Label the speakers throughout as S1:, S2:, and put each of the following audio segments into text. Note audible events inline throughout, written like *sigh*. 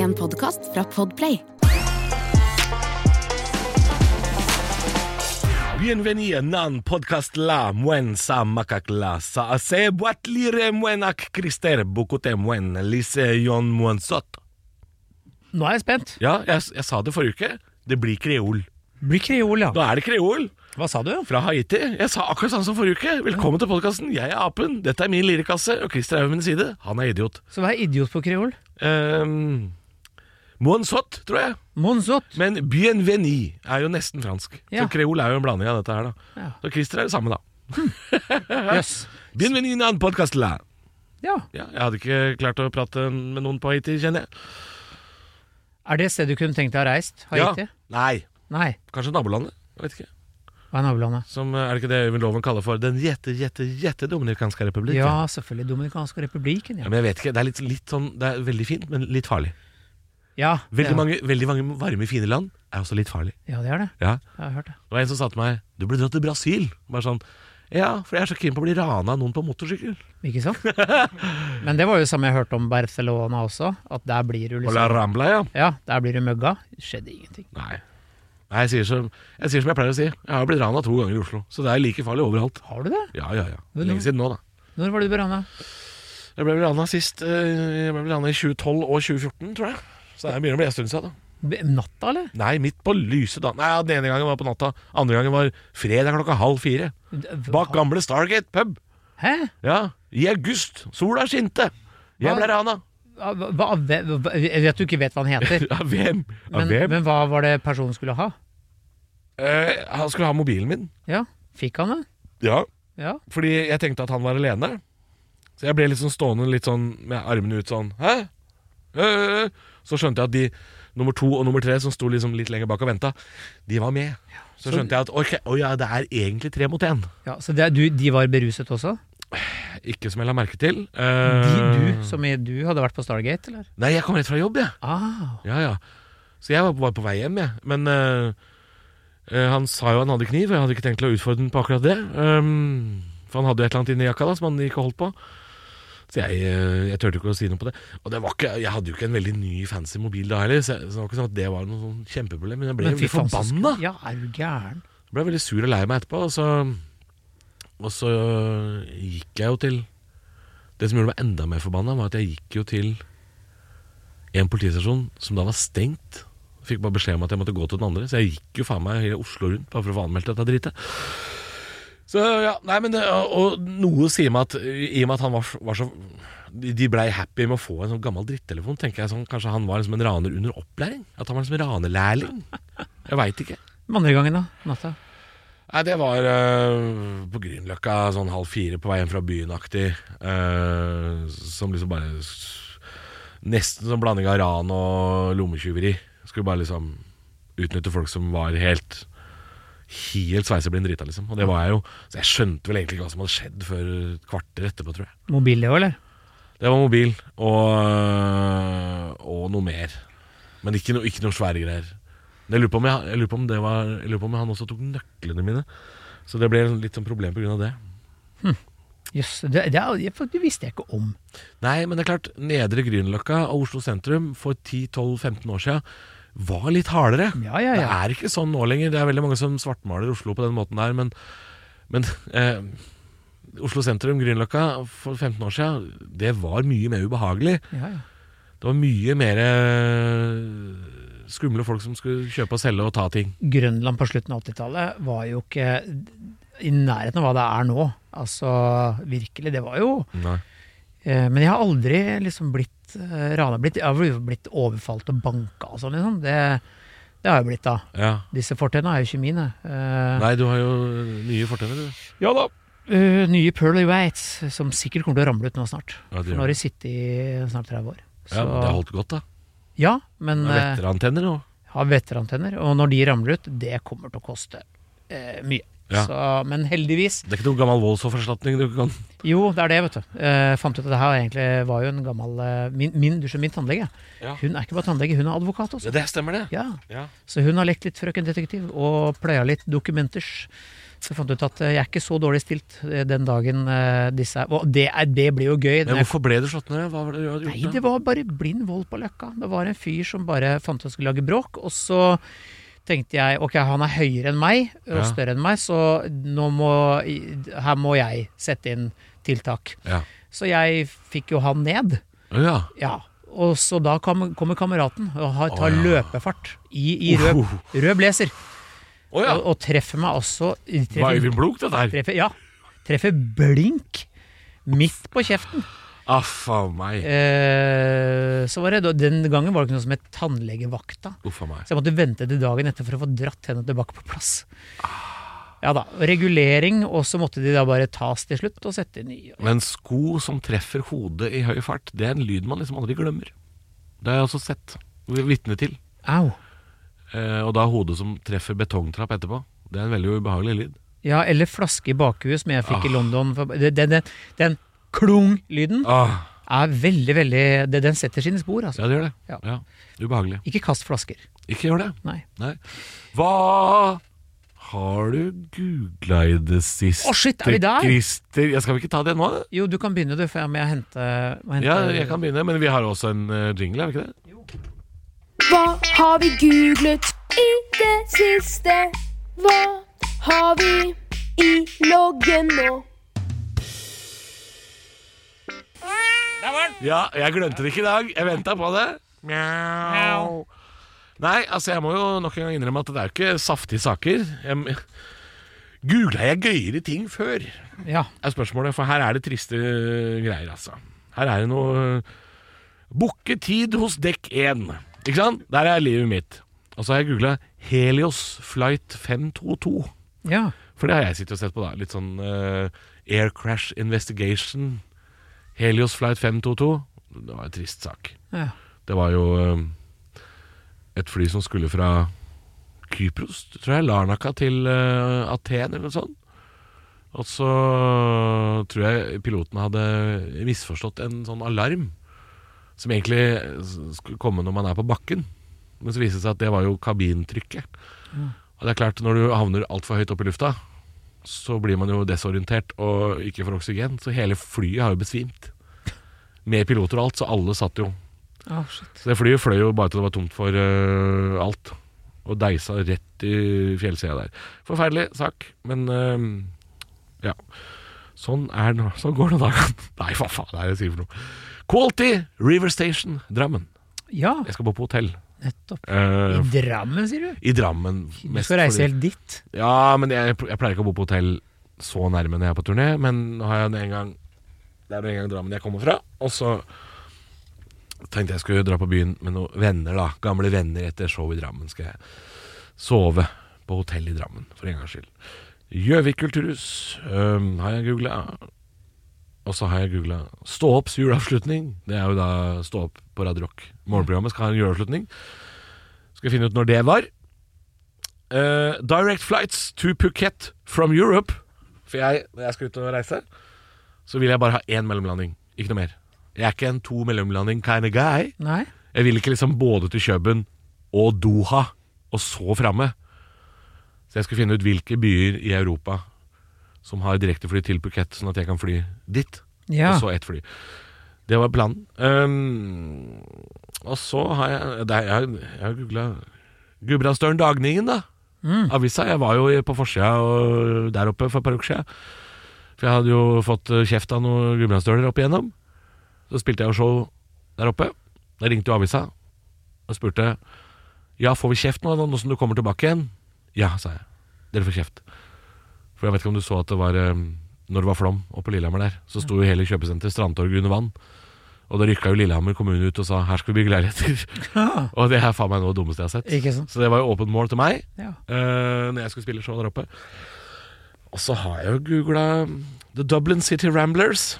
S1: en podkast fra Podplay.
S2: Bienvenue nan podcast la mwen sa makak la sa se boat lire mwen ak krister bukute mwen lise yon mwen sot.
S3: Nå er jeg spent.
S2: Ja, jeg, jeg sa det forrige uke. Det blir kreol.
S3: Blir kreol, ja.
S2: Da er det kreol
S3: Hva sa du?
S2: fra Haiti. Jeg sa akkurat sånn som forrige uke. Velkommen til podkasten. Jeg er apen. Dette er min lirekasse, og Christer er ved min side. Han er idiot.
S3: Så hva er idiot på kreol?
S2: Um, mwen sot, tror jeg.
S3: Monzot.
S2: Men bienvenue er jo nesten fransk.
S3: Ja.
S2: Så kreol er jo en blanding av dette her, da.
S3: Ja.
S2: Så Christer er det samme, da.
S3: Jøss.
S2: Bienvenue nan podcast la.
S3: Ja.
S2: Ja, jeg hadde ikke klart å prate med noen på Haiti, kjenner jeg.
S3: Er det et sted du kunne tenkt deg å ha reist? Haiti?
S2: Ja. Nei,
S3: Nei.
S2: kanskje nabolandet. Jeg vet ikke.
S3: Hva er nabolandet?
S2: Som, eh, er det ikke det Øyvind Loven kaller for den jette, jette, jette dominikanske republikk?
S3: Ja, selvfølgelig. Dominikanske republikken,
S2: Ja,
S3: ja.
S2: men jeg vet ikke, det er litt, litt sånn, det er veldig fint, men litt farlig.
S3: Ja,
S2: Veldig,
S3: det-
S2: mange, veldig mange varme, fine land er også litt farlig.
S3: ja det er det.
S2: Ja.
S3: Jeg har hørt det.
S2: Det var en som sa til meg, du burde dratt til Brasil. Bare sånn, ja, for jeg er så keen på å bli rana av noen på motorsykkel.
S3: Ikke sant? Men det var jo det samme jeg hørte om Barcelona også, at der blir du
S2: Og la
S3: liksom
S2: rambla, ja.
S3: Ja, der blir du møgga. Skjedde ingenting.
S2: Nei. Nei, jeg sier, som, jeg sier som jeg pleier å si. Jeg har blitt rana to ganger i Oslo, så det er like farlig overalt.
S3: Har du det?
S2: Ja, ja, ja.
S3: Men
S2: Lenge
S3: nå-
S2: siden nå, da.
S3: Når var det du berana?
S2: Jeg ble vel rana sist eh, Jeg ble vel rana i 2012 og 2014, tror jeg. Så det begynner å bli en stund siden. da
S3: Natta, eller?
S2: Nei, midt på lyse dag. Nei, ja, Den ene gangen var på natta, andre gangen var fredag klokka halv fire. Bak gamle Stargate pub.
S3: Hæ?
S2: Ja, I august. Sola skinte. Jeg ble rana.
S3: Hva, hva, hva, jeg vet du ikke vet hva han heter.
S2: Av hvem? Av
S3: Men,
S2: hvem?
S3: men hva var det personen skulle ha?
S2: Eh, han skulle ha mobilen min.
S3: Ja, fikk han det?
S2: Ja,
S3: Ja.
S2: Fordi jeg tenkte at han var alene. Så jeg ble litt sånn stående litt sånn med armene ut sånn Hæ? Øh, øh, øh. Så skjønte jeg at de nummer to og nummer tre som sto liksom litt lenger bak og venta, de var med. Så
S3: så-
S2: skjønte jeg at ok, å ja, det er egentlig tre mot én.
S3: ja så det, er du, de var beruset også?
S2: Ikke som jeg la merke til.
S3: De,
S2: Eh,
S3: du, som i du hadde vært på Stargate, eller?
S2: Nei, jeg kom rett fra jobb, jeg.
S3: Ah,
S2: Ja, ja. Så jeg var bare på vei hjem, jeg. Men eh, eh, han sa jo han hadde kniv, og jeg hadde ikke tenkt til å utfordre den på akkurat det. Ehm, for han hadde jo et eller annet inni jakka da som han ikke holdt på. Så jeg, eh, jeg turte ikke å si noe på det. Og det var ikke, jeg hadde jo ikke en veldig ny, fancy mobil da heller, så så det var ikke sånn at det var noe sånn kjempeproblem. Men jeg ble
S3: men
S2: jo
S3: fy
S2: veldig
S3: faen, så
S2: forbanna.
S3: sk- Ja, er du gæren?
S2: Jeg ble veldig sur og lei meg etterpå, og så, og så gikk jeg jo til Det som gjorde meg enda mer forbanna, var at jeg gikk jo til en politistasjon som da var stengt. Fikk bare beskjed om at jeg måtte gå til den andre, så jeg gikk jo faen meg hele Oslo rundt bare for å få anmeldt dette dritet. Så ja, nei, men det, Og noe sier meg at i og med at han var, var så De de blei happy med å få en sånn gammel drittelefon, tenker jeg sånn Kanskje han var liksom en raner under opplæring? At han var liksom en ranerlærling? Jeg veit ikke.
S3: Den andre gangen, da? Natta?
S2: Nei, det var øh, på Grünerløkka sånn halv fire på vei hjem fra byen-aktig. øh, som liksom bare s- Nesten som blanding av ran og lommetyveri. Skulle bare liksom utnytte folk som var helt Helt sveiseblind drita, liksom. Og det var jeg jo. Så jeg skjønte vel egentlig ikke hva som hadde skjedd før et kvarter etterpå, tror jeg.
S3: Mobil, det òg, eller?
S2: Det var mobil og, og noe mer. Men ikke, no, ikke noe svære greier. Men Jeg lurer, på om jeg, jeg, lurer på om det var, jeg lurer på om han også tok nøklene mine. Så det ble litt sånn problem pga. det.
S3: Jøss, det, det, er- jeg- for det visste jeg ikke om.
S2: Nei, men det er klart, Nedre Grünerløkka og Oslo sentrum for 10-12-15 år siden var litt hardere.
S3: Ja, ja,
S2: Det
S3: ja.
S2: er ikke sånn nå lenger. Det er veldig mange som svartmaler Oslo på den måten der, men, men eh, Oslo sentrum, Grünerløkka, for 15 år siden, det var mye mer ubehagelig.
S3: ja, ja.
S2: Det var mye mer eh, skumle folk som skulle kjøpe og selge og ta ting.
S3: Grønland på slutten av 80-tallet var jo ikke i nærheten av hva det er nå. Altså, virkelig. Det var jo Eh, Men jeg har aldri liksom blitt eh, rana. Blitt, jeg har jo blitt overfalt og banka og sånn, liksom. Det, det har jeg blitt da.
S2: Ja.
S3: Disse fortennene er jo ikke mine. Eh,
S2: Nei, du har jo nye fortenner, du.
S3: ja da. Eh, nye Pearly Waits, som sikkert kommer til å ramle ut nå snart.
S2: Ja, det
S3: For
S2: gjør
S3: nå har
S2: det.
S3: de sittet i snart 30 år.
S2: Ja, men det har holdt godt, da.
S3: ja, men
S2: Det er
S3: eh,
S2: Veterantenner nå.
S3: har veterantenner. Og når de ramler ut, det kommer til å koste eh, mye.
S2: Ja.
S3: Så, men heldigvis
S2: Det er ikke noen gammel voldsoffererstatning du *laughs* kan
S3: Jo, det er det, vet du. Eh, fant ut at det her egentlig var jo en gammel eh, Min, min, du skjønner, min tannlege.
S2: Ja.
S3: Hun er ikke bare tannlege, hun er advokat også.
S2: Det stemmer, det.
S3: Ja,
S2: Ja.
S3: Så hun har lekt litt Frøken Detektiv og pløya litt dokumenters. Så fant jeg ut at eh, jeg er ikke så dårlig stilt eh, den dagen eh, disse Og det, er, det blir jo gøy.
S2: Men
S3: når jeg
S2: hvorfor ble det slått ned? Hva var det du hadde gjort?
S3: Nei,
S2: da?
S3: det var bare blind vold på Løkka. Det var en fyr som bare fant ut han skulle lage bråk, og så tenkte jeg ok, han er høyere enn meg og
S2: Ja.
S3: større enn meg, så nå må, her må jeg sette inn tiltak.
S2: Ja.
S3: Så jeg fikk jo han ned.
S2: Å ja.
S3: Ja. Og så da kom, kommer kameraten og har, tar
S2: Å, ja.
S3: løpefart i, i rød, rød blazer.
S2: Å ja.
S3: Og, og treffer meg også
S2: Var
S3: treffer,
S2: Øyvind Blunk, dette her?
S3: treffer, Ja. Treffer blink midt på kjeften.
S2: Ah, faen meg.
S3: Eh, så var det, da- Den gangen var det ikke noe som het tannlegevakta.
S2: Uff a meg.
S3: Så jeg måtte vente til dagen etter for å få dratt hendene tilbake på plass. Ja da, Regulering, og så måtte de da bare tas til slutt og sette nye.
S2: Men sko som treffer hodet i høy fart, det er en lyd man liksom aldri glemmer. Det har jeg også sett. Vitne til.
S3: Au.
S2: Eh, og da hodet som treffer betongtrapp etterpå. Det er en veldig ubehagelig lyd.
S3: Ja, eller flaske i bakhuet, som jeg fikk i London. for- Den, den, den klung-lyden
S2: Ah,
S3: er veldig, veldig det- Den setter sine spor, altså.
S2: ja, det gjør det.
S3: Ja.
S2: Ja. Ubehagelig.
S3: Ikke kast flasker.
S2: Ikke gjør det.
S3: Nei.
S2: Nei. Hva har du googla i det siste,
S3: Å, shit, er vi der?
S2: Christer? Ja, skal vi ikke ta det nå? da?
S3: Jo, du kan begynne, du, for jeg må hente, må hente
S2: Ja, jeg kan begynne, men vi har også en eh, jingle, har vi ikke det?
S1: Hva har vi googlet i det siste? Hva har vi i loggen nå?
S2: Ja, jeg glemte det ikke i dag. Jeg venta på det. Mjau. Nei, altså jeg må jo nok en gang innrømme at det er jo ikke saftige saker. Jeg, googla jeg gøyere ting før?
S3: Ja.
S2: er spørsmålet, for her er det triste øh, greier, altså. Her er det noe øh, Booke tid hos dekk 1. Ikke sant? Der er livet mitt. Og så har jeg googla Helios Flight 522.
S3: ja.
S2: For det har jeg sittet og sett på, da. Litt sånn øh, Air Crash Investigation. Helios Flight 522. Det var en trist sak.
S3: ja.
S2: Det var jo øh, et fly som skulle fra Kypros, tror jeg, Larnaca til øh, Aten eller noe sånt. Og så tror jeg piloten hadde misforstått en sånn alarm som egentlig eh, s- skulle komme når man er på bakken. Men så viste det seg at det var jo kabintrykket. Og det er klart, når du havner altfor høyt opp i lufta, så blir man jo desorientert og ikke får oksygen. Så hele flyet har jo besvimt. Med piloter og alt, så alle satt jo
S3: Å, shit.
S2: så det flyet fløy jo bare til det var tomt for øh, alt. Og deisa rett i fjellsida der. Forferdelig sak, men øhm, ja. Sånn er det nå. *laughs* Sånn går det da. Nei, hva faen er det jeg sier for noe? Quality River Station, Drammen.
S3: Ja,
S2: Jeg skal bo på hotell.
S3: nettopp. I
S2: øh,
S3: Drammen, sier du?
S2: I Drammen.
S3: Du
S2: mest
S3: skal reise
S2: fordi-
S3: helt dit?
S2: Ja, men jeg, jeg pleier ikke å bo på hotell så nærme når jeg er på turné, men nå har jeg nå en gang Det er nå en gang Drammen jeg kommer fra, og så tenkte jeg skulle dra på byen med noen venner, da. Gamle venner etter show i Drammen. Skal jeg sove på hotell i Drammen, for en gangs skyld. Gjøvik kulturhus øhm, har jeg googla. Og så har jeg googla Stå opps juleavslutning. Det er jo da Stå opp på Radio Rock. Morgenprogrammet skal ha en juleavslutning. Skal finne ut når det var. Eh, direct flights to Phuket from Europe. For jeg, når jeg skal ut og reise, så vil jeg bare ha én mellomlanding. Ikke noe mer. Jeg er ikke en to mellomlanding kind of guy.
S3: Nei?
S2: Jeg vil ikke liksom både til Køben og Doha, og så framme. Så jeg skal finne ut hvilke byer i Europa som har direktefly til Phuket, sånn at jeg kan fly dit
S3: Ja. *laughs*
S2: og så ett fly. Det var planen. Ehm, og så har jeg det, er- Jeg, jeg har googla Gudbrandsdølen Dagningen, da. Avisa. Jeg var jo i- på forsida og der oppe for et par uker siden. For jeg hadde jo fått eh, kjeft av noen gudbrandsdøler opp igjennom. Så spilte jeg jo show der oppe. Da ringte jo avisa og spurte Ja, får vi kjeft nå, da, nå som du kommer tilbake igjen? Ja, sa jeg. Dere får kjeft. For jeg vet ikke om du så at det var eh, Når det var flom oppe på Lillehammer der, så sto jo hele kjøpesenteret Strandtorget under vann. Og da rykka jo Lillehammer kommune ut og sa her skal vi bygge leiligheter. *laughs*
S3: Ah,
S2: og det er faen meg noe av det dummeste jeg har sett.
S3: ikke sant?
S2: Så det var jo åpent mål til meg
S3: Ja.
S2: eh, når jeg skulle spille show der oppe. Og så har jeg jo googla The Dublin City Ramblers.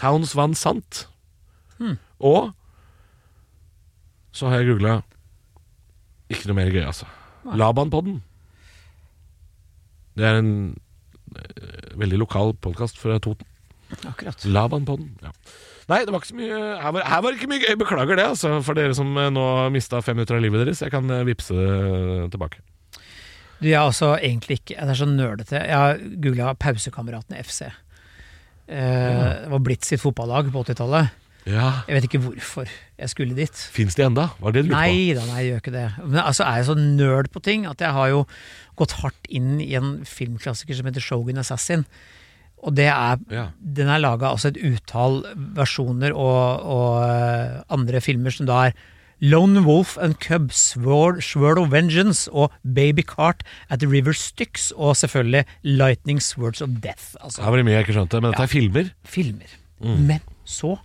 S2: Towns Van Sant. Og så har jeg googla Ikke noe mer gøy, altså. Labanpodden. Det er en eh, veldig lokal podkast fra Toten.
S3: Akkurat.
S2: Labanpodden. Ja. Nei, det var ikke så mye her var, her var det ikke mye gøy. Beklager det, eh, altså, for dere som eh, nå mista fem minutter av livet deres. Jeg kan eh, vippse det tilbake.
S3: Du, jeg er også egentlig ikke Det er så nerdete. Jeg har googla pausekameratene FC. Eh, det var Blitz sitt fotballag på 80-tallet.
S2: Ja.
S3: Jeg vet ikke hvorfor jeg skulle dit.
S2: Fins de enda? Var det det du lurte
S3: Nei da, nei, jeg gjør ikke det. Men altså er jeg så nerd på ting at jeg har jo gått hardt inn i en filmklassiker som heter Shogun Assassin. Og det er,
S2: på? Ja.
S3: den er laga altså et utall versjoner og, og eh, andre filmer som da er Lone Wolf and Cub, Sword, Sword of Vengeance og Baby Cart at the River Styx og selvfølgelig Lightning Swords of Death. Altså
S2: Her var det mye jeg ikke skjønte, men dette er filmer.
S3: filmer.
S2: Mm.
S3: Men så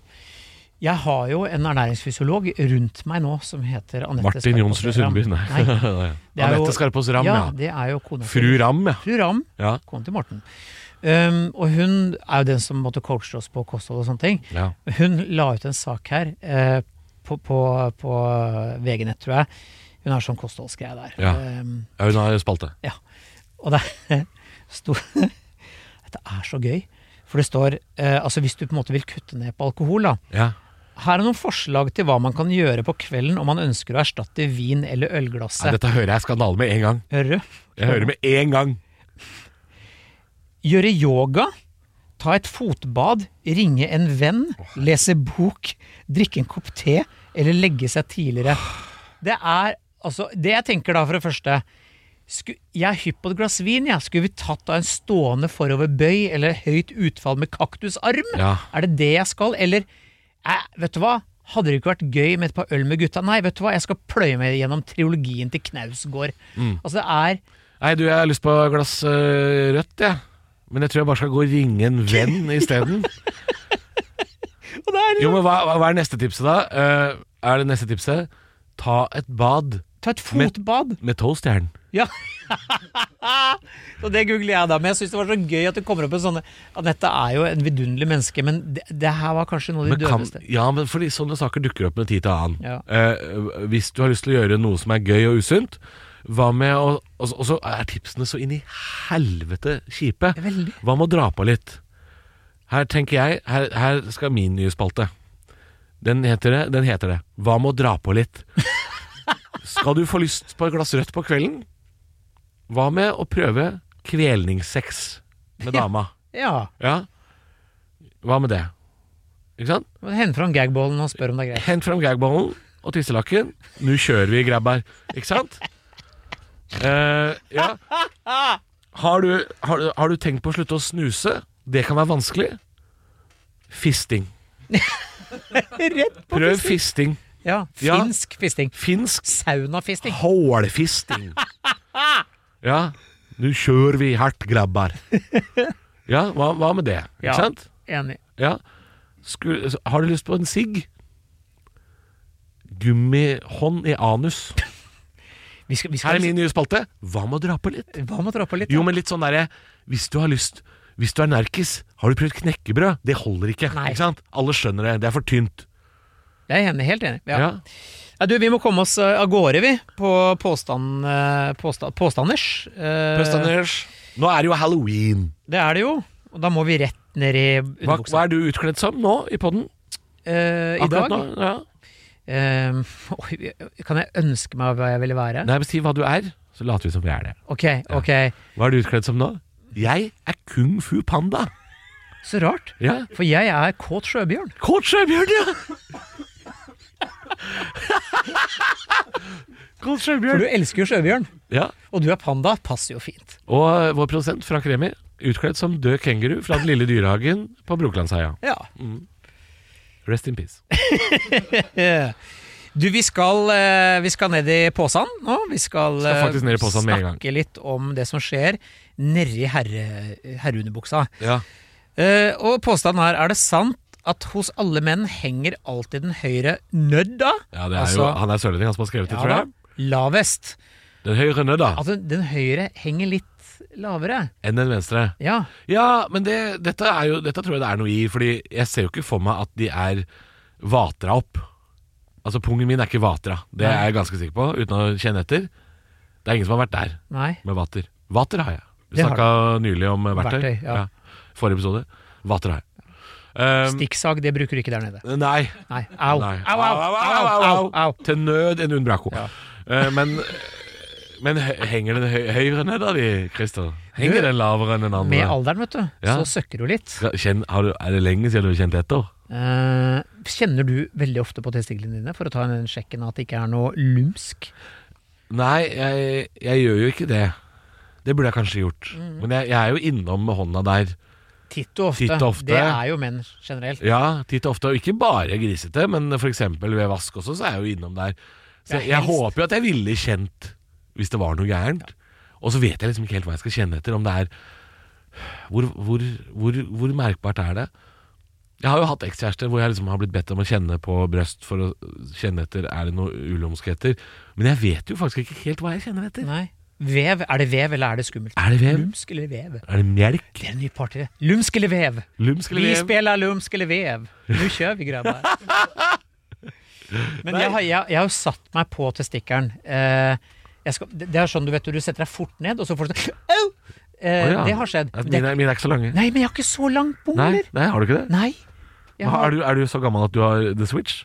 S3: Jeg har jo en ernæringsfysiolog rundt meg nå som heter Anette
S2: Martin Jonsrud
S3: Skarpaas Ram.
S2: Sundby. Nei. *laughs*
S3: Nei. Det er jo-
S2: Anette Skarpaas Ram, ja.
S3: Ja, det er jo kona
S2: Fru
S3: til-
S2: Ram, ja.
S3: Fru Ram,
S2: Ja.
S3: kona til Morten. Um, og hun er jo den som måtte coache oss på kosthold og sånne ting.
S2: ja.
S3: Hun la ut en sak her eh, på, på, på VG-nett, tror jeg. Hun har sånn kostholdsgreie der.
S2: Ja.
S3: Um,
S2: Ja, Hun har spalte.
S3: og det *laughs* står Dette er så gøy. For det står eh, Altså, hvis du på en måte vil kutte ned på alkohol, da.
S2: Ja.
S3: Her er noen forslag til hva man kan gjøre på kvelden om man ønsker å erstatte vin eller
S2: Nei,
S3: ølglasset.
S2: dette hører jeg skandale med en gang.
S3: Rød.
S2: Jeg hører med en gang.
S3: Gjøre yoga, ta et fotbad, ringe en venn, lese bok, drikke en kopp te eller legge seg tidligere. Det er altså Det jeg tenker da, for det første sku, Jeg er hypp på et glass vin, jeg. Skulle vi tatt da en stående foroverbøy eller høyt utfall med kaktusarm?
S2: Ja.
S3: Er det det jeg skal? Eller eh, vet du hva? Hadde det ikke vært gøy med et par øl med gutta? Nei, vet du hva, jeg skal pløye meg gjennom triologien til Knausgård. Altså, det er
S2: Nei, du, jeg har lyst på et glass øh, rødt, jeg. Men jeg tror jeg bare skal gå og ringe en
S3: *laughs*
S2: venn isteden.
S3: Og det er
S2: Jo, men hva, hva er neste tipset, da? Eh, er det neste tipset? Ta et bad
S3: Ta et
S2: Men-
S3: fotbad!
S2: med toastjern.
S3: Ja. *laughs* og det googler jeg da, men jeg syns det var så gøy at det kommer opp en sånne Anette er jo en vidunderlig menneske, men det, det her var kanskje noe av de
S2: Men kan,
S3: døveste.
S2: ja, men fordi sånne saker dukker opp med tid til annen.
S3: Ja.
S2: Eh, hvis du har lyst til å gjøre noe som er gøy og usunt, hva med å Og så- og så er tipsene så inn i helvete kjipe.
S3: Veldig.
S2: Hva med å dra på litt? Her tenker jeg Her, her skal min nye spalte. Den heter det. Den heter det. Hva med å dra på
S3: *laughs*
S2: litt? skal du få lyst på et glass rødt på kvelden? Hva med å prøve kvelningssex med dama?
S3: Ja.
S2: Ja? Hva med det? Ikke sant?
S3: må du Hente fram gagballen og spør om det er greit.
S2: Hent fram gagballen og tisselakken. Nå kjører vi grabber. Ikke sant? Eh, ja. har, du, har, du- har du tenkt på å slutte å snuse? Det kan være vanskelig. Fisting.
S3: *laughs* Rett på
S2: Prøv
S3: fisting.
S2: fisting.
S3: Ja,
S2: Ja.
S3: Finsk fisting.
S2: Finsk
S3: Saunafisting.
S2: hålfisting. Ja. Nå kjører vi hardt, grabber. Ja, hva, hva med det? Ikke
S3: Ja.
S2: sant?
S3: Enig.
S2: Ja. Skulle, har du lyst på en sigg? Gummihånd i anus.
S3: Vi skal, vi
S2: Her
S3: skal,
S2: er min nye spalte. Hva med å dra på litt?
S3: Hva med å dra på litt?
S2: Jo,
S3: da?
S2: men litt sånn derre Hvis du har lyst Hvis du er nerkis, har du prøvd knekkebrød? Det holder ikke.
S3: Nei.
S2: ikke sant? Alle skjønner det. Det er for tynt.
S3: Jeg er enig, helt enig. Ja.
S2: Ja.
S3: Ja, du, vi må komme oss eh, av gårde, vi. På påstand, eh, påsta- påstanders. Eh,
S2: Pøstanders. Nå er det jo halloween.
S3: Det er det jo. Og da må vi rett ned i
S2: Hva,
S3: underbuksa.
S2: hva er du utkledd som nå i podden?
S3: Eh, I
S2: Akkurat
S3: dag
S2: nå? Ja.
S3: Ehm, *laughs* oi, kan jeg ønske meg hva jeg ville være?
S2: Nei, men Si hva du er, så later vi som vi er det.
S3: Ok, ok.
S2: Hva er du utkledd som nå? Jeg er kung fu panda.
S3: Så rart.
S2: Ja.
S3: For jeg er kåt sjøbjørn.
S2: Kåt sjøbjørn, ja! Kåt
S3: For
S2: sjøbjørn.
S3: du elsker jo sjøbjørn.
S2: Ja.
S3: Og du er panda. Passer jo fint.
S2: Og eh, vår produsent Frank Remi, utkledd som død kenguru fra den lille dyrehagen på Brokelandsheia.
S3: Ja.
S2: Rest in peace.
S3: Eh, Du, vi skal, eh, vi skal ned i påsan nå. Vi skal, eh,
S2: Skal faktisk ned i påsan med en gang.
S3: snakke litt om det som skjer nedi herre, herreunderbuksa.
S2: Ja.
S3: Eh, og påstanden her er det sant at hos alle menn henger alltid den høyre nødda? Altså,
S2: det er jo, Han er sørlending, han som har skrevet det, tror jeg.
S3: Lavest.
S2: Den høyre nødda
S3: Altså, den høyre henger litt lavere.
S2: enn den venstre.
S3: Ja.
S2: Ja, men det, dette, er jo, dette tror jeg det er noe i, Fordi jeg ser jo ikke for meg at de er vatra opp. Altså, pungen min er ikke vatra. Det er jeg ganske sikker på, uten å kjenne etter. Det er ingen som har vært der
S3: Nei.
S2: med vater. Vater har jeg. Vi
S3: Det har
S2: snakka nylig om eh, verktøy.
S3: Verktøy, ja.
S2: Forrige episode. Vater har jeg. Um,
S3: Stikksag, det bruker du ikke der nede.
S2: Nei.
S3: Nei. Au.
S2: Nei.
S3: Au, au, au, au, au, au.
S2: Til nød en unbraco.
S3: Ja.
S2: Eh, men Men he- henger den høy, høyere ned da, de, Christer? Henger den lavere enn den andre?
S3: Med alderen, vet du,
S2: Ja.
S3: så søkker du litt.
S2: Skal- Kjenn, har du, er det lenge siden du har kjent etter?
S3: Eh, kjenner du veldig ofte på testiklene dine for å ta den sjekken at det ikke er noe lumsk?
S2: Nei, jeg, jeg gjør jo ikke det. Det burde jeg kanskje gjort.
S3: Mm.
S2: Men jeg, jeg er jo innom med hånda der.
S3: Titt og ofte.
S2: Titt og ofte.
S3: Det er jo menn generelt.
S2: Ja, titt og ofte. Og ikke bare grisete, men f.eks. ved vask også, så er jeg jo innom der. Så
S3: Ja,
S2: jeg, jeg
S3: helst.
S2: håper jo at jeg ville kjent hvis det var noe gærent. Og så vet jeg liksom ikke helt hva jeg skal kjenne etter. Om det er Hvor, hvor, hvor, hvor merkbart er det? Jeg har jo hatt ekskjærester hvor jeg liksom har blitt bedt om å kjenne på bryst for å kjenne etter er det noe ulumskheter. Men jeg vet jo faktisk ikke helt hva jeg kjenner etter.
S3: Nei. Vev. Er det vev, eller er det skummelt?
S2: Er det vev?
S3: Lumsk eller vev?
S2: Er det melk?
S3: Det er en ny party. Lumsk eller vev?
S2: Lumsk eller
S3: Vi
S2: vev?
S3: spiller lumsk eller vev. Nå kjører vi, grabber. Men jeg har, jeg, jeg har jo satt meg på testikkelen. Eh, jeg skal, det, det er sånn du vet, du setter deg fort ned, og så får du sånn Au! Eh,
S2: Å ja.
S3: Det har skjedd.
S2: Ja,
S3: Men
S2: Mine,
S3: det,
S2: er- mine er ikke så lange.
S3: nei, men jeg har ikke så langt
S2: Nei,
S3: bongler.
S2: nei, har du ikke det?
S3: Nei. Jeg
S2: Hva, er,
S3: har
S2: du, er du så gammel at du har The Switch?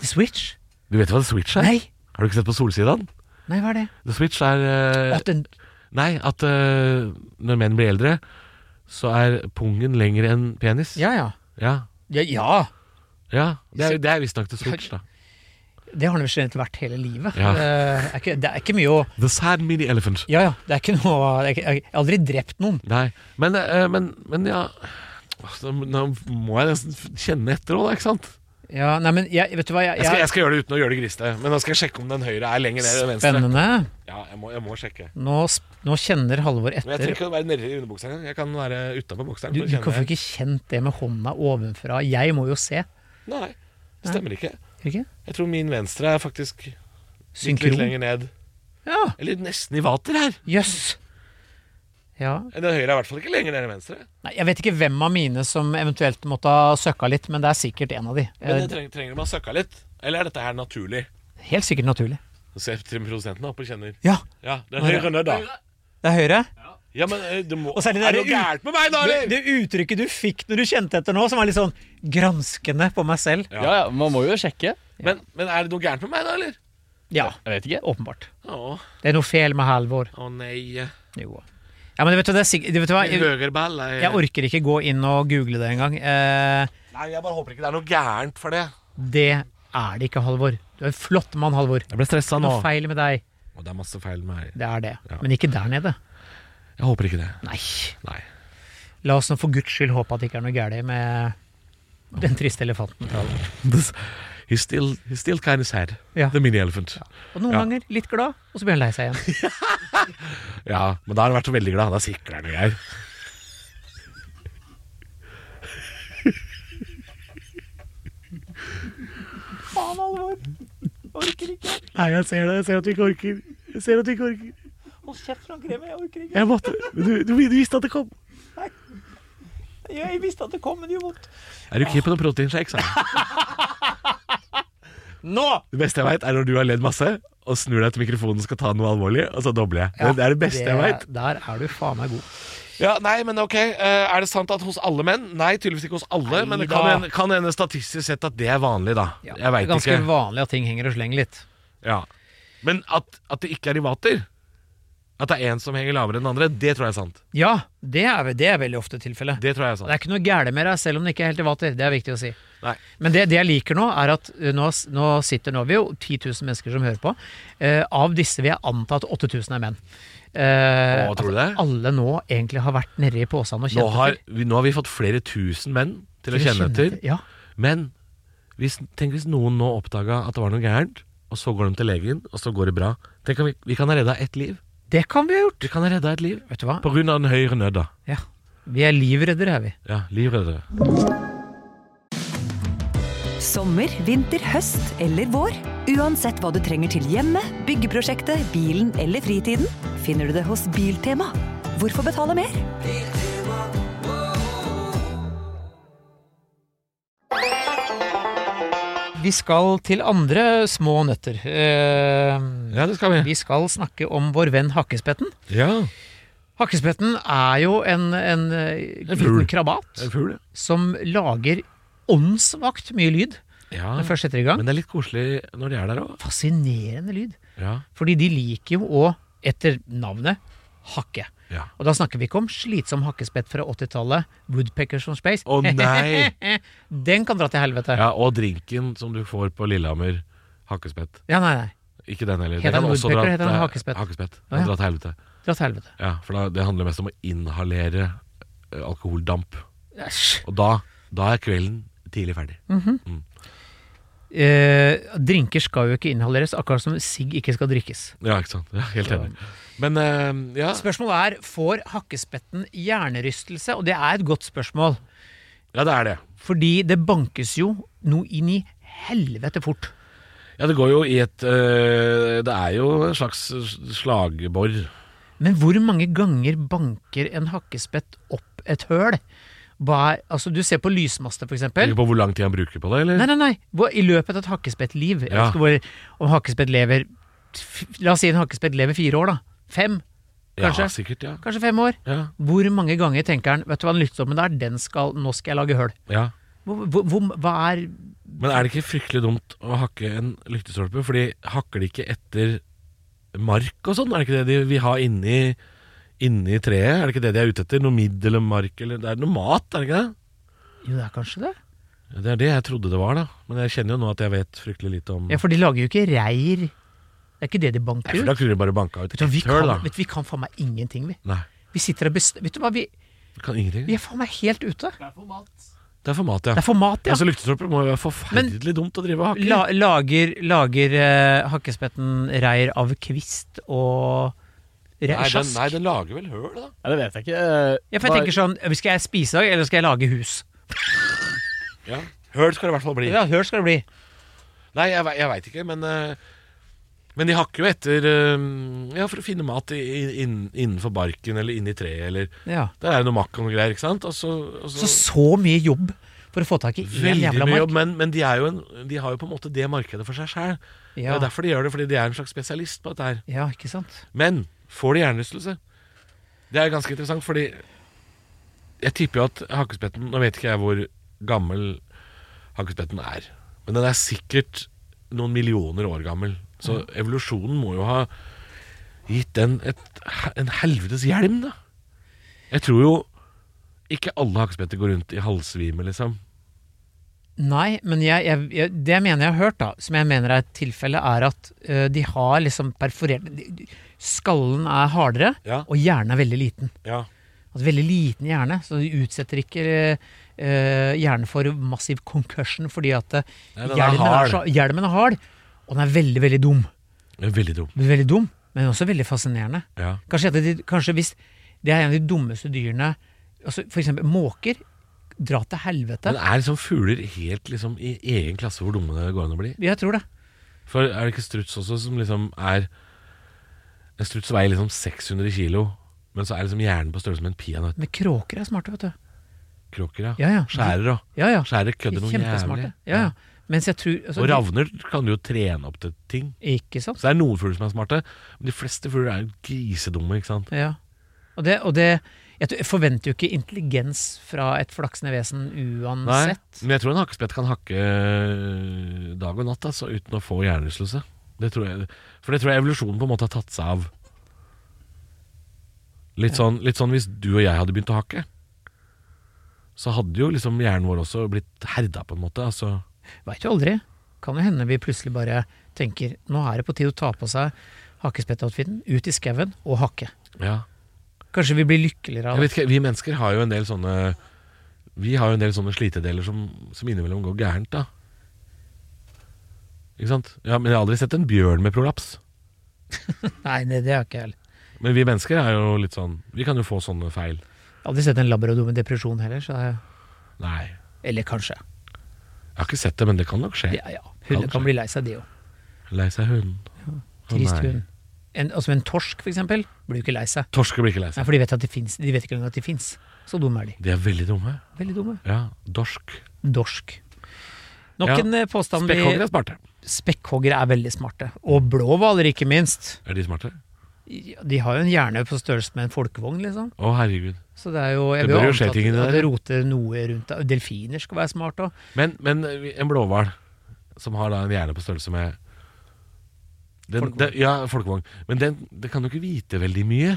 S3: The Switch.
S2: Du vet hva The Switch er?
S3: Nei.
S2: Har du ikke sett på Solsidaen?
S3: Nei, hva er det?
S2: The Switch er eh,
S3: At den,
S2: Nei, at eh, når menn blir eldre, så er pungen lengre enn penis.
S3: ja, ja.
S2: Ja,
S3: Ja, ja.
S2: ja. Det er, det er visstnok The Switch, da.
S3: Det har den vel generelt vært hele livet.
S2: Ja.
S3: Eh, det, er ikke, det er ikke mye å
S2: The sad mini elephant.
S3: Ja, ja. Det er ikke noe det er ikke, Jeg har aldri drept noen.
S2: Nei, men, eh, men, men ja Altså, Nå må jeg nesten f- kjenne etter òg, da, ikke sant?
S3: Ja, nei, men jeg, vet du hva, jeg,
S2: Jeg skal,
S3: jeg
S2: jeg skal gjøre det uten å gjøre det grisete. Men nå skal jeg sjekke om den høyre er lenger ned enn den venstre.
S3: Spennende.
S2: Ja, jeg må, jeg må sjekke.
S3: Nå, sp- nå kjenner Halvor
S2: Men jeg trenger
S3: etter.
S2: ikke å være nedi underbuksa engang. Jeg kan være utapå bokseren.
S3: Du,
S2: for å
S3: du
S2: kjenne-
S3: kan få ikke kjent det med hånda ovenfra. Jeg må jo se.
S2: Nei, det stemmer ikke.
S3: Ikke?
S2: Jeg tror min venstre er faktisk litt, litt
S3: Synkron.
S2: lenger ned.
S3: Ja.
S2: Eller nesten i vater her.
S3: Jøss. Ja.
S2: Den høyre er i hvert fall ikke lenger ned enn venstre.
S3: Nei, jeg vet ikke hvem av mine som eventuelt måtte ha søkka litt, men det er sikkert en av de.
S2: Men
S3: Eh,
S2: det trenger, trenger de å søkke litt. Eller er dette her naturlig?
S3: Helt sikkert naturlig.
S2: Så ser til produsenten opp og kjenner.
S3: Ja,
S2: Ja, den
S3: Nei,
S2: høyre ned, da.
S3: det er høyre.
S2: Ja, men eh, det må
S3: Og så er det
S2: det
S3: der
S2: noe gærent med meg, da,
S4: Det,
S2: eller?
S3: Det uttrykket du fikk når du kjente etter nå, som var litt sånn granskende på meg selv.
S4: ja, ja, man må jo sjekke.
S2: Men, men er det noe gærent med meg, da, eller?
S3: Ja,
S4: Jeg vet ikke.
S3: åpenbart.
S2: Å,
S3: Det er noe feil med Halvor.
S2: å nei.
S3: Jo. Ja, men vet du, det er sikkert, vet du hva,
S2: Min
S3: jeg,
S2: høyre ball er
S3: jeg orker ikke gå inn og google det engang. Eh,
S2: Nei, jeg bare håper ikke det er noe gærent for det.
S3: det er det ikke, Halvor. Du er en flott mann, Halvor.
S2: Jeg ble stressa
S3: Noe feil med deg.
S2: Og det er masse feil med meg.
S3: Det er det.
S2: Ja.
S3: Men ikke der nede.
S2: Jeg håper ikke det.
S3: Nei.
S2: Nei. *laughs*
S3: La oss nå for guds skyld håpe at det ikke er noe galt med den triste elefanten. til Halvor.
S2: This, he's still, he's still kind of sad.
S3: Ja.
S2: The mini elephant.
S3: Og noen
S2: Ja.
S3: ganger litt glad, og så blir han lei seg igjen.
S2: Ja. men da har han vært så veldig glad. Da sikler han og greier.
S3: Faen, Halvor. Orker ikke. Nei, jeg ser det. Jeg ser at du ikke orker. Jeg ser at du ikke orker. Hold kjeft fra kremen. Jeg orker ikke.
S2: Jeg måtte, du, du, du visste at det kom.
S3: *laughs* Jeg visste at det kom, men det gjør vondt.
S2: Er du keen på noen proteinshakes? da?
S3: Nå!
S2: Det beste jeg veit, er når du har ledd masse og snur deg til mikrofonen og skal ta noe alvorlig, og så dobler jeg. det er det beste jeg veit.
S3: Der er du faen meg god.
S2: Ja, nei, men ok. eh, Er det sant at hos alle menn? Nei, tydeligvis ikke hos alle, men det kan
S3: Neida.
S2: hende- kan hende statistisk sett at det er vanlig, da. Jeg
S3: det er
S2: veit
S3: ganske
S2: ikke.
S3: vanlig at ting henger og slenger litt.
S2: Ja. Men at, at det ikke er i vater, at det er én som henger lavere enn den andre, det tror jeg er sant.
S3: Ja, det er, ve- det er veldig ofte tilfellet. Det,
S2: Det tror jeg er sant.
S3: er ikke noe gærent med deg, selv om det ikke er helt i vater. Det er viktig å si.
S2: Nei.
S3: Men det, det jeg liker nå, er at uh, nå, s- nå sitter nå er vi jo 10 000 mennesker som hører på. Eh, av disse vil jeg anta at 8000 er menn. Eh,
S2: Å, tror du
S3: at
S2: det?
S3: Alle nå egentlig har vært nedi posen og
S2: Nå
S3: kjent
S2: har,
S3: etter.
S2: vi, nå har vi fått flere tusen menn til å
S3: Dere
S2: kjenne
S3: kjenner
S2: etter.
S3: etter, Ja.
S2: Men hvis, tenk hvis noen nå oppdaga at det var noe gærent, og så går de til legen, og så går det bra. Tenk om vi, vi kan ha redda ett liv.
S3: Det kan vi ha gjort.
S2: Vi kan ha redda ett liv.
S3: Vet du hva?
S2: På grunn av den høyre nødda.
S3: Ja. Vi er livreddere, er vi.
S2: Ja, livreddere.
S5: Sommer, vinter, høst eller vår. Uansett hva du trenger til hjemmet, byggeprosjektet, bilen eller fritiden, finner du det hos Biltema. Hvorfor betale mer?
S3: Vi skal til andre små nøtter. Eh,
S2: Ja, det skal vi.
S3: Vi skal snakke om vår venn Hakkespetten.
S2: Ja,
S3: Hakkespetten er jo en, en, eh,
S2: fugl.
S3: liten krabat
S2: En fugl, ja.
S3: som lager åndsvakt mye lyd
S2: ja.
S3: når først setter i gang.
S2: Men det er litt koselig når de er der òg.
S3: Fascinerende lyd.
S2: Ja.
S3: Fordi de liker jo å etter navnet hakke.
S2: Ja.
S3: Og da snakker vi ikke om slitsom hakkespett fra 80-tallet, Woodpeckers from Space.
S2: Å, nei!
S3: *laughs* Den kan dra til helvete.
S2: Ja,
S3: Ja,
S2: og drinken som du får på Lillehammer. Hakkespett.
S3: nei, nei.
S2: Ikke den heller.
S3: Heter
S2: Den
S3: den
S2: kan også dra
S3: Woodpecker, eller heter den
S2: til-
S3: hakkespett?
S2: Hakkespett.
S3: Å, ja.
S2: Den drar til helvete.
S3: Dra til helvete.
S2: Ja, for da, det handler mest om å inhalere eh, alkoholdamp.
S3: Æsj.
S2: Og da, da er kvelden tidlig ferdig.
S3: Mm. Eh, drinker skal jo ikke inhaleres, akkurat som sigg ikke skal drikkes.
S2: Ja, ikke sant. Ja, helt enig. Men eh, ja,
S3: Spørsmålet er får hakkespetten hjernerystelse, og det er et godt spørsmål.
S2: ja, det er det.
S3: Fordi det bankes jo noe inn i helvete fort.
S2: Ja, det går jo i et eh, Det er jo en slags slagbor.
S3: Men hvor mange ganger banker en hakkespett opp et høl? Hva er, altså Du ser på lysmaster, for eksempel.
S2: Tenker på hvor lang tid han bruker på det, eller?
S3: Nei, nei, nei. Hvor, I løpet av et hakkespettliv. Jeg
S2: Ja.
S3: vet ikke hvor, om hakkespett lever f- La oss si en hakkespett lever fire år, da. Fem. Kanskje.
S2: Ja, sikkert, ja.
S3: Kanskje fem år.
S2: Ja,
S3: Hvor mange ganger tenker han Vet du hva den lyttsommen der, den skal, nå skal jeg lage høl.
S2: ja.
S3: Hvor, hvor, hvor, hva er
S2: Men er det ikke fryktelig dumt å hakke en lyktestolpe? Fordi hakker de ikke etter mark og sånn? Er det ikke det de vil ha inni, inni treet? Er det ikke det de er ute etter? Noe midd eller mark? Eller, det er noe mat, er det ikke det?
S3: Jo, det er kanskje det?
S2: Ja, Det er det jeg trodde det var, da. Men jeg kjenner jo nå at jeg vet fryktelig lite om
S3: Ja, for de lager jo ikke reir. Det er ikke det de
S2: Nei,
S3: banker
S2: for Da
S3: ut.
S2: kunne de bare banka ut
S3: Vet du, hva, vi
S2: ett høl,
S3: kan,
S2: da.
S3: vet du, vi kan faen meg ingenting, vi.
S2: Nei,
S3: Vi sitter og best... Vet du hva, vi,
S2: vi kan ingenting.
S3: vi er faen meg helt ute.
S2: Det er for mat, ja.
S3: Det er for mat, ja.
S2: Altså, Lyktestolper må jo være forferdelig dumt å drive og hakke.
S3: La, lager lager eh, hakkespetten reir av kvist og re
S2: nei, den,
S3: sjask?
S2: nei, den lager vel høl, da.
S4: Ja, det vet jeg ikke. Eh,
S3: ja, for jeg
S4: hva-
S3: tenker sånn, Skal jeg spise i dag, eller skal jeg lage hus?
S2: Ja. Høl skal det i hvert fall bli.
S3: Ja, Hør skal det bli.
S2: Nei, jeg, ve- jeg veit ikke, men eh, Men de hakker jo etter eh, Ja, for å finne mat i, i, inn, innenfor barken eller inni treet eller
S3: Ja.
S2: Der er det noe makk og noe greier, ikke sant? Og så, og så,
S3: Så så mye jobb for å få tak i én
S2: Veldig
S3: jævla
S2: mye
S3: mark.
S2: jobb, men, men de, er jo en, de har jo på en måte det markedet for seg sjæl. Det
S3: Ja,
S2: er derfor de gjør det, fordi de er en slags spesialist på dette her.
S3: ja, ikke sant?
S2: Men får de hjernerystelse? Det er ganske interessant, fordi jeg tipper jo at hakkespetten Nå vet ikke jeg hvor gammel hakkespetten er, men den er sikkert noen millioner år gammel. Så evolusjonen må jo ha gitt den et, en helvetes hjelm, da. Jeg tror jo ikke alle hakkespetter går rundt i halvsvime, liksom.
S3: Nei, men jeg, jeg, jeg, det jeg mener jeg har hørt, da, som jeg mener er et tilfelle, er at eh, de har liksom perforert de, de, Skallen er hardere,
S2: Ja.
S3: og hjernen er veldig liten.
S2: Ja.
S3: Altså veldig liten hjerne, så du utsetter ikke eh, hjernen for massiv concussion fordi at eh,
S2: Nei, den er
S3: hjelmen, er
S2: hard.
S3: så, hjelmen er hard, og den er veldig, veldig dum.
S2: Veldig dum.
S3: Den er Veldig dum, men også veldig fascinerende.
S2: Ja.
S3: Kanskje, et av de- kanskje hvis det er en av de dummeste dyrene, altså for eksempel måker, dra til helvete.
S2: Men er liksom fugler helt liksom i egen klasse hvor dumme det går an å bli?
S3: Jeg tror det.
S2: For er det ikke struts også som liksom er En struts veier liksom 600 kilo, men så er liksom hjernen på størrelse med en peanøttkråker.
S3: Men kråker er smarte, vet du.
S2: Ja.
S3: Ja, ja.
S2: Skjærer og
S3: Ja, ja.
S2: Skjærer kødder noe jævlig.
S3: Kjempesmarte. Ja, ja. Mens jeg tror altså,
S2: Og ravner kan du jo trene opp til ting.
S3: Ikke sant?
S2: Så det er noen fugler som er smarte, men de fleste fugler er jo grisedumme, ikke sant.
S3: Ja. Og det, og det jeg tror- jeg forventer jo ikke intelligens fra et flaksende vesen
S2: Nei,
S3: uansett.
S2: men jeg tror en hakkespett kan hakke dag og natt altså, uten å få hjernerystelse. Det tror jeg, for det tror jeg evolusjonen på en måte har tatt seg av. Litt sånn, litt sånn hvis du og jeg hadde begynt å hakke, så hadde jo liksom hjernen vår også blitt herda, på en måte. Altså,
S3: Veit jo aldri. Kan jo hende vi plutselig bare tenker nå er det på tide å ta på seg hakkespettoutfiten, ut i skauen og hakke.
S2: ja.
S3: Kanskje vi blir lykkeligere
S2: Jeg
S3: av det.
S2: vet ikke, vi mennesker har jo en del sånne Vi har jo en del sånne slitedeler som, som innimellom går gærent, da. Ikke sant? Ja, men jeg har aldri sett en bjørn med prolaps.
S3: Nei, det, det er ikke jeg heller.
S2: Men vi mennesker er jo litt sånn Vi kan jo få sånne feil.
S3: Jeg har Aldri sett en labrador med depresjon heller. Så jeg,
S2: Nei,
S3: eller kanskje.
S2: jeg har ikke sett det, men det kan nok skje.
S3: Ja, ja. Hunder
S2: Kanskje.
S3: kan bli lei seg, de òg.
S2: Lei seg hunden. Å,
S3: Trist
S2: nei.
S3: hund. En, altså en torsk, for eksempel, blir jo ikke lei seg.
S2: Torsker blir ikke lei
S3: Nei,
S2: seg.
S3: For de vet, at de, finnes, de vet ikke engang at de fins. Så dumme er de.
S2: De er veldig dumme.
S3: Veldig dumme.
S2: Ja, Dorsk.
S3: Dorsk. Nok
S2: Ja.
S3: en eh, påstand vi
S2: Spekkhoggere er smarte.
S3: Spekkhoggere er veldig smarte. Og blåhvaler, ikke minst.
S2: Er de smarte?
S3: Ja, De har jo en hjerne på størrelse med en folkevogn, liksom.
S2: Å, herregud.
S3: Så det er jo Jeg
S2: Det
S3: vil
S2: bør
S3: jo
S2: jo skje
S3: anta
S2: ting i
S3: at,
S2: det
S3: at
S2: der.
S3: det roter noe rundt der. Delfiner skal være smarte òg.
S2: eh, Men, men en blåhval som har da en hjerne på størrelse med Den,
S3: Folkevogn.
S2: Den, ja, folkevogn. Men den, den kan jo ikke vite veldig mye.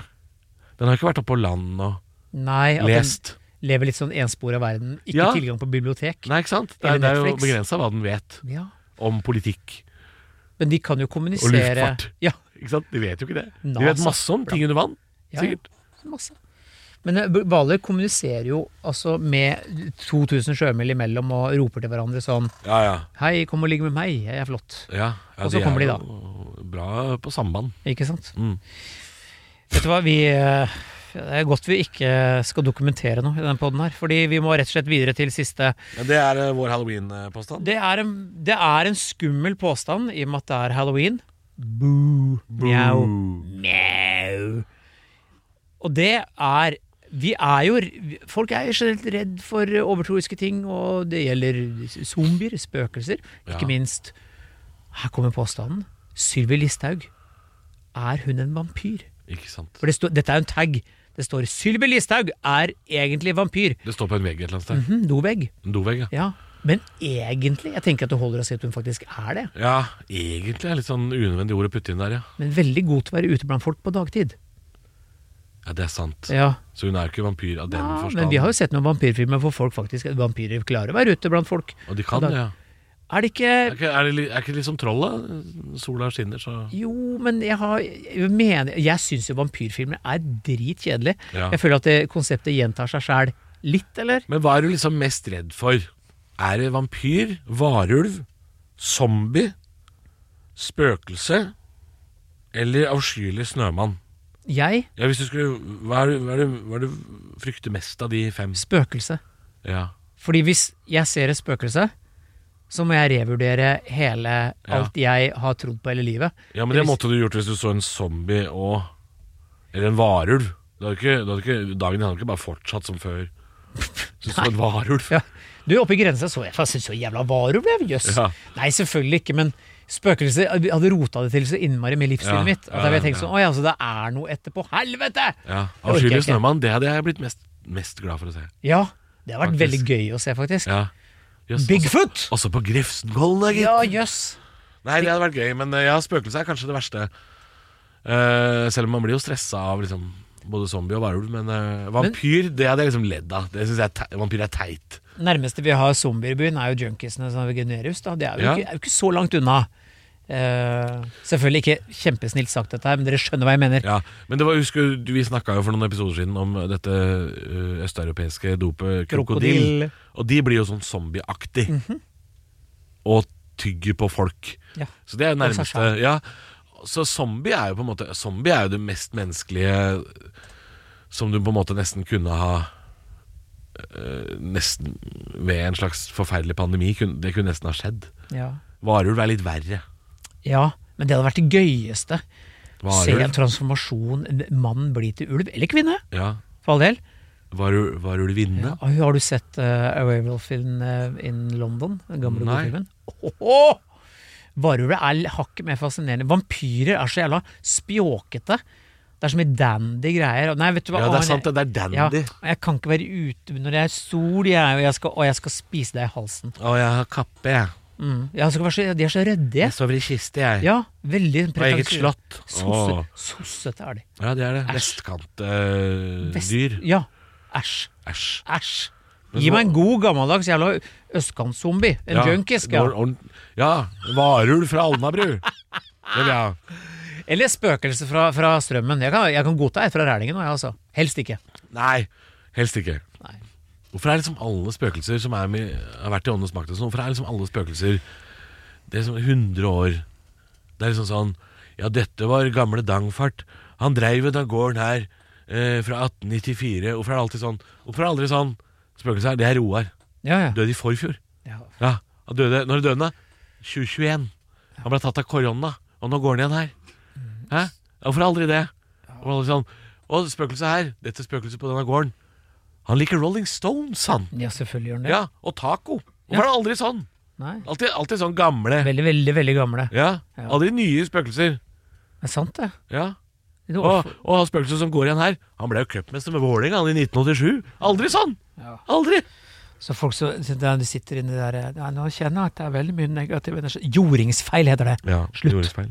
S2: Den har ikke vært oppe på land og
S3: Nei, at
S2: lest.
S3: den lever litt sånn enspor av verden. Ikke
S2: Ja.
S3: tilgang på bibliotek.
S2: Nei, ikke sant? Det
S3: Eller
S2: er, det er jo
S3: Netflix.
S2: begrensa hva den vet
S3: Ja.
S2: om politikk.
S3: Men de kan jo kommunisere
S2: luftfart.
S3: Ja,
S2: Ikke sant? De vet jo ikke det. De
S3: NASA.
S2: vet masse om ting under vann,
S3: Ja, ja.
S2: sikkert.
S3: masse. Men eh, hvaler kommuniserer jo altså med 2000 sjømil imellom og roper til hverandre sånn
S2: Ja, ja.
S3: Hei, kom og ligg med meg, jeg er flott.
S2: ja, ja
S3: Og så kommer de da.
S2: da. Bra på samband.
S3: Ikke sant?
S2: Mm.
S3: Vet du hva, vi eh, Det er godt vi ikke skal dokumentere noe i den poden her, fordi vi må rett og slett videre til siste.
S2: Men det er eh, vår halloween-påstand.
S3: Det er en, det er en skummel påstand i og med at det er halloween. Boo. Mjau. Mjau. Og det er vi er jo, Folk er jo generelt redd for overtroiske ting, og det gjelder zombier, spøkelser,
S2: Ja.
S3: ikke minst. Her kommer påstanden. Sylvi Listhaug. Er hun en vampyr?
S2: Ikke sant.
S3: For det står- dette er jo en tag. Det står 'Sylvi Listhaug er egentlig vampyr'.
S2: Det står på en vegg et eller annet sted.
S3: Mhm, Dovegg.
S2: En dovegg, ja.
S3: Ja. Men egentlig? Jeg tenker at det holder å si at hun faktisk er det.
S2: Ja, egentlig er det litt sånn unødvendig ord å putte inn der, ja.
S3: Men veldig god til å være ute blant folk på dagtid.
S2: Ja, Det er sant.
S3: Ja,
S2: Så hun er jo ikke vampyr av den
S3: ja
S2: forstand.
S3: Men vi har jo sett noen vampyrfilmer hvor folk faktisk vampyrer klarer å være ute blant folk.
S2: Og de kan
S3: Da-
S2: det, ja.
S3: Er det
S2: Er
S3: ikke
S2: ikke, er det, li- er ikke liksom trollet? Sola skinner, så
S3: Jo, men jeg har Jeg, mener- jeg syns jo vampyrfilmer er dritkjedelige.
S2: Ja.
S3: Jeg føler at det konseptet gjentar seg sjæl litt, eller?
S2: Men hva er du liksom mest redd for? Er det vampyr, varulv, zombie, spøkelse eller avskyelig snømann?
S3: Jeg?
S2: Ja, hvis du skulle, hva, er, det- hva, er det, hva er det du frykter mest av de fem?
S3: Spøkelse.
S2: Ja,
S3: Fordi hvis jeg ser et spøkelse, så må jeg revurdere hele alt jeg har trodd på hele livet.
S2: ja men det måtte du gjort hvis du så en zombie og Eller en varulv. Du hadde ikke, du hadde ikke, dagen din hadde ikke bare fortsatt som
S3: *laughs*
S2: før. Så du så en varulv.
S3: Ja. Du, oppe i grensa så jeg faktisk så jævla varulv, jeg. Jøss.
S2: Ja.
S3: Nei, selvfølgelig ikke, men spøkelser jeg hadde rota det til så innmari med livsstilen
S2: Ja,
S3: mitt. At
S2: ja,
S3: jeg ville tenkt
S2: ja.
S3: sånn Oi, altså, det er noe etterpå. Helvete!
S2: Ja,
S3: Det orker jeg
S2: Avskyelig
S3: ikke.
S2: snømann, det hadde jeg blitt mest, mest glad for å se.
S3: Ja. Det har vært veldig
S2: Faktisk.
S3: gøy å se, faktisk.
S2: Ja. Jøss,
S3: Bigfoot!
S2: Også, også på Grefsenkollen, da, gitt.
S3: Ja, jøss.
S2: Nei, det hadde vært gøy, men eh, ja, spøkelse er kanskje det verste. Eh, selv om man blir jo stressa av liksom, både zombie og varulv. Men eh, vampyr, det hadde jeg liksom ledd av. Det synes jeg er te Vampyr er teit.
S3: Nærmeste vi har zombier i byen, er jo junkiesene som generer da. Det er jo,
S2: Ja.
S3: ikke, er jo ikke så langt unna. Eh, selvfølgelig ikke kjempesnilt sagt dette her, men dere skjønner hva jeg mener.
S2: Ja, men det var, husker, du- vi snakka jo for noen episoder siden om dette eh, østeuropeiske dopet krokodill.
S3: Krokodill.
S2: Og de blir jo sånn zombieaktig.
S3: Mhm.
S2: Og tygger på folk.
S3: Ja.
S2: Så det er jo
S3: Og seg
S2: nærmeste ja. Så zombie er jo på en måte Zombie er jo det mest menneskelige som du på en måte nesten kunne ha eh, Nesten ved en slags forferdelig pandemi. kun- Det kunne nesten ha skjedd.
S3: Ja.
S2: Varulv er litt verre.
S3: ja, men det hadde vært det gøyeste. Se en
S2: Varulv,
S3: transformasjon. en Mann blir til ulv, eller kvinne,
S2: ja.
S3: for all del.
S2: Varul- varulvinne?
S3: Ah, Har du sett uh, Arrival-filmen eh, in London? Den gamle
S2: Nei.
S3: gode filmen? Åhå! Varulver er hakket mer fascinerende. Vampyrer er så jævla spjåkete. Det er så mye dandy greier. Og Nei, vet du hva?
S2: Ja, det
S3: Å,
S2: er sant, det. Det er
S3: Ja,
S2: dandy.
S3: og jeg kan ikke være ute når det er sol, jeg, og, jeg skal, og jeg skal spise deg i halsen.
S2: Å, jeg har kappe, jeg.
S3: Mm. Jeg skal være så, de er så redde.
S2: Jeg sover i kiste, jeg.
S3: Ja, veldig
S2: På eget
S3: pretensiøse.
S2: slott.
S3: Sosse-
S2: Åh.
S3: Sossete er de.
S2: Ja, det er det.
S3: Æsj. Vest-
S2: Vestkantdyr.
S3: Ja. Æsj.
S2: Æsj.
S3: Æsj.
S2: Men
S3: Gi
S2: så-
S3: meg en god, gammeldags jævla østkantzombie. En
S2: Ja,
S3: junkie skal jeg ha.
S2: ordn- Ja. Varulv fra
S3: *laughs*
S2: Alnabru. Det vil jeg ha.
S3: Eller spøkelse fra, fra strømmen. Jeg kan, jeg kan godta et fra Rælingen òg, jeg, altså. Helst ikke.
S2: Nei, helst ikke.
S3: Nei.
S2: Hvorfor er liksom alle spøkelser som er med, har vært i Åndenes makt og sånn, hvorfor er liksom alle spøkelser Det er liksom 100 år Det er liksom sånn Ja, dette var gamle Dangfart. Han dreiv den gården her eh, fra 1894. Hvorfor er det alltid sånn? Hvorfor er det aldri sånn? Spøkelset her, det er Roar.
S3: Ja, ja.
S2: Døde i forfjor.
S3: ja.
S2: Ja, han døde, når døde han da? 2021 Han ble tatt av korona Og nå går han igjen her Hæ? Ja, Hvorfor aldri det? Og, alle sånn, og spøkelset her, dette spøkelset på denne gården Han liker Rolling Stones han
S3: Ja, selvfølgelig gjør den det.
S2: Ja, og taco Hvorfor er det aldri sånn?
S3: Nei.
S2: Alltid, alltid sånn gamle
S3: Veldig, veldig veldig gamle.
S2: Ja,
S3: Ja.
S2: aldri nye spøkelser
S3: Det er sant, det.
S2: Ja
S3: det er noe
S2: og,
S3: off-
S2: og han spøkelset som går igjen her Han ble jo køppmester med Vålinga i 1987 Aldri sånn,
S3: Ja.
S2: aldri
S3: Så folk som så der du sitter inni der eh, ja, Nå kjenner jeg at det er veldig mye negativ energi. Jordingsfeil heter det.
S2: Ja,
S3: Slutt.
S2: jordingsfeil.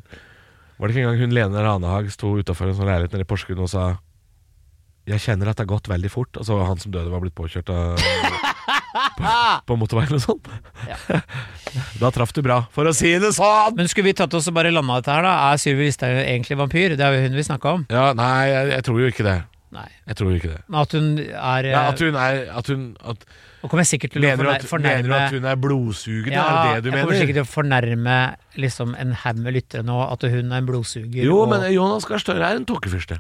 S2: Var det ikke engang hun Lene Ranehag sto utafor en sånn leilighet nede i Porsgrunn og sa Jeg kjenner at det har gått veldig fort. Altså han som døde, var blitt påkjørt
S3: *laughs*
S2: av på, på motorveien og sånn. *laughs* da traff du bra, for å si det sånn!
S3: Men skulle vi tatt oss og bare landa dette her, da? Er Sylvi Listhaug egentlig vampyr? Det er jo hun vi snakka om.
S2: Ja, nei, jeg, jeg tror jo ikke det.
S3: Nei.
S2: Jeg tror jo ikke det.
S3: Men at hun er
S2: Nei, at hun er at hun, at,
S3: Nå kommer jeg sikkert til å
S2: mener, du at,
S3: fornær-
S2: mener du
S3: fornærme
S2: at hun er blodsugende?
S3: ja,
S2: er det det du
S3: Jeg kommer
S2: mener?
S3: sikkert til å fornærme liksom, en haug med lyttere nå, at hun er en blodsuger.
S2: Jo,
S3: og-
S2: men Jonas Gahr Støre er en tåkefyrste.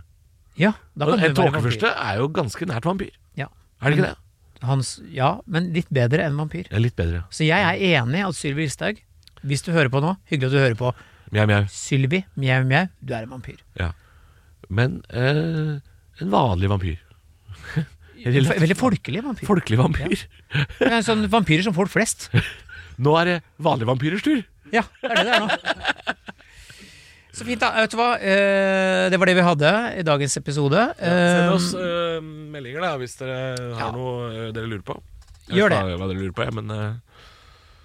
S3: ja, da
S2: Og
S3: kan
S2: En
S3: hun være vampyr. Mm.
S2: tåkefyrste er jo ganske nært vampyr.
S3: Ja.
S2: Er det ikke det?
S3: Hans, ja, men litt bedre enn vampyr.
S2: Det er litt bedre.
S3: Så jeg er enig at Sylvi Listhaug Hvis du hører på nå, hyggelig at du hører på.
S2: Mjau, mjau.
S3: Sylvi, mjau, mjau, du er en vampyr.
S2: Ja. Men eh, en vanlig vampyr. En
S3: Veldig,
S2: helt
S3: folkelig vampyr.
S2: Folkelig vampyr.
S3: Det er en sånn Vampyrer som folk flest.
S2: *laughs* Nå er det vanlige vampyrers tur.
S3: Ja, det er det det er nå. Så fint, da. Vet du hva? Eh, Det var det vi hadde i dagens episode.
S2: Send oss
S3: Eh,
S2: eh, meldinger da hvis dere har
S3: ja.
S2: noe eh, dere lurer på. Jeg
S3: Gjør
S2: vet
S3: det.
S2: Hva, hva dere lurer på, jeg, men eh,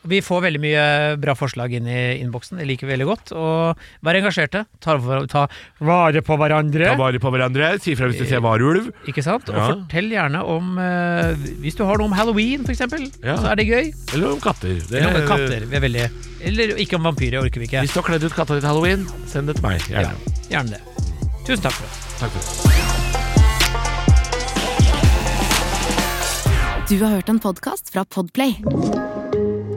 S3: Vi får veldig mye bra forslag inn i innboksen. Det liker vi veldig godt. Og vær engasjerte. Ta, ta vare på hverandre.
S2: ta vare på hverandre. Si fra hvis du ser varulv.
S3: Ikke sant? Og
S2: Ja.
S3: fortell gjerne om eh, Hvis du har noe om halloween, f.eks.,
S2: Ja.
S3: så er det gøy.
S2: Eller om katter. Det-
S3: Eller om katter. Vi er veldig Eller ikke om vampyrer, orker vi ikke.
S2: Hvis du har kledd ut katta di til halloween, send det til meg.
S3: Ja,
S2: Gjerne.
S3: gjerne det. Tusen takk for oss.
S2: Takk for det.
S4: Du har hørt en podcast fra Podplay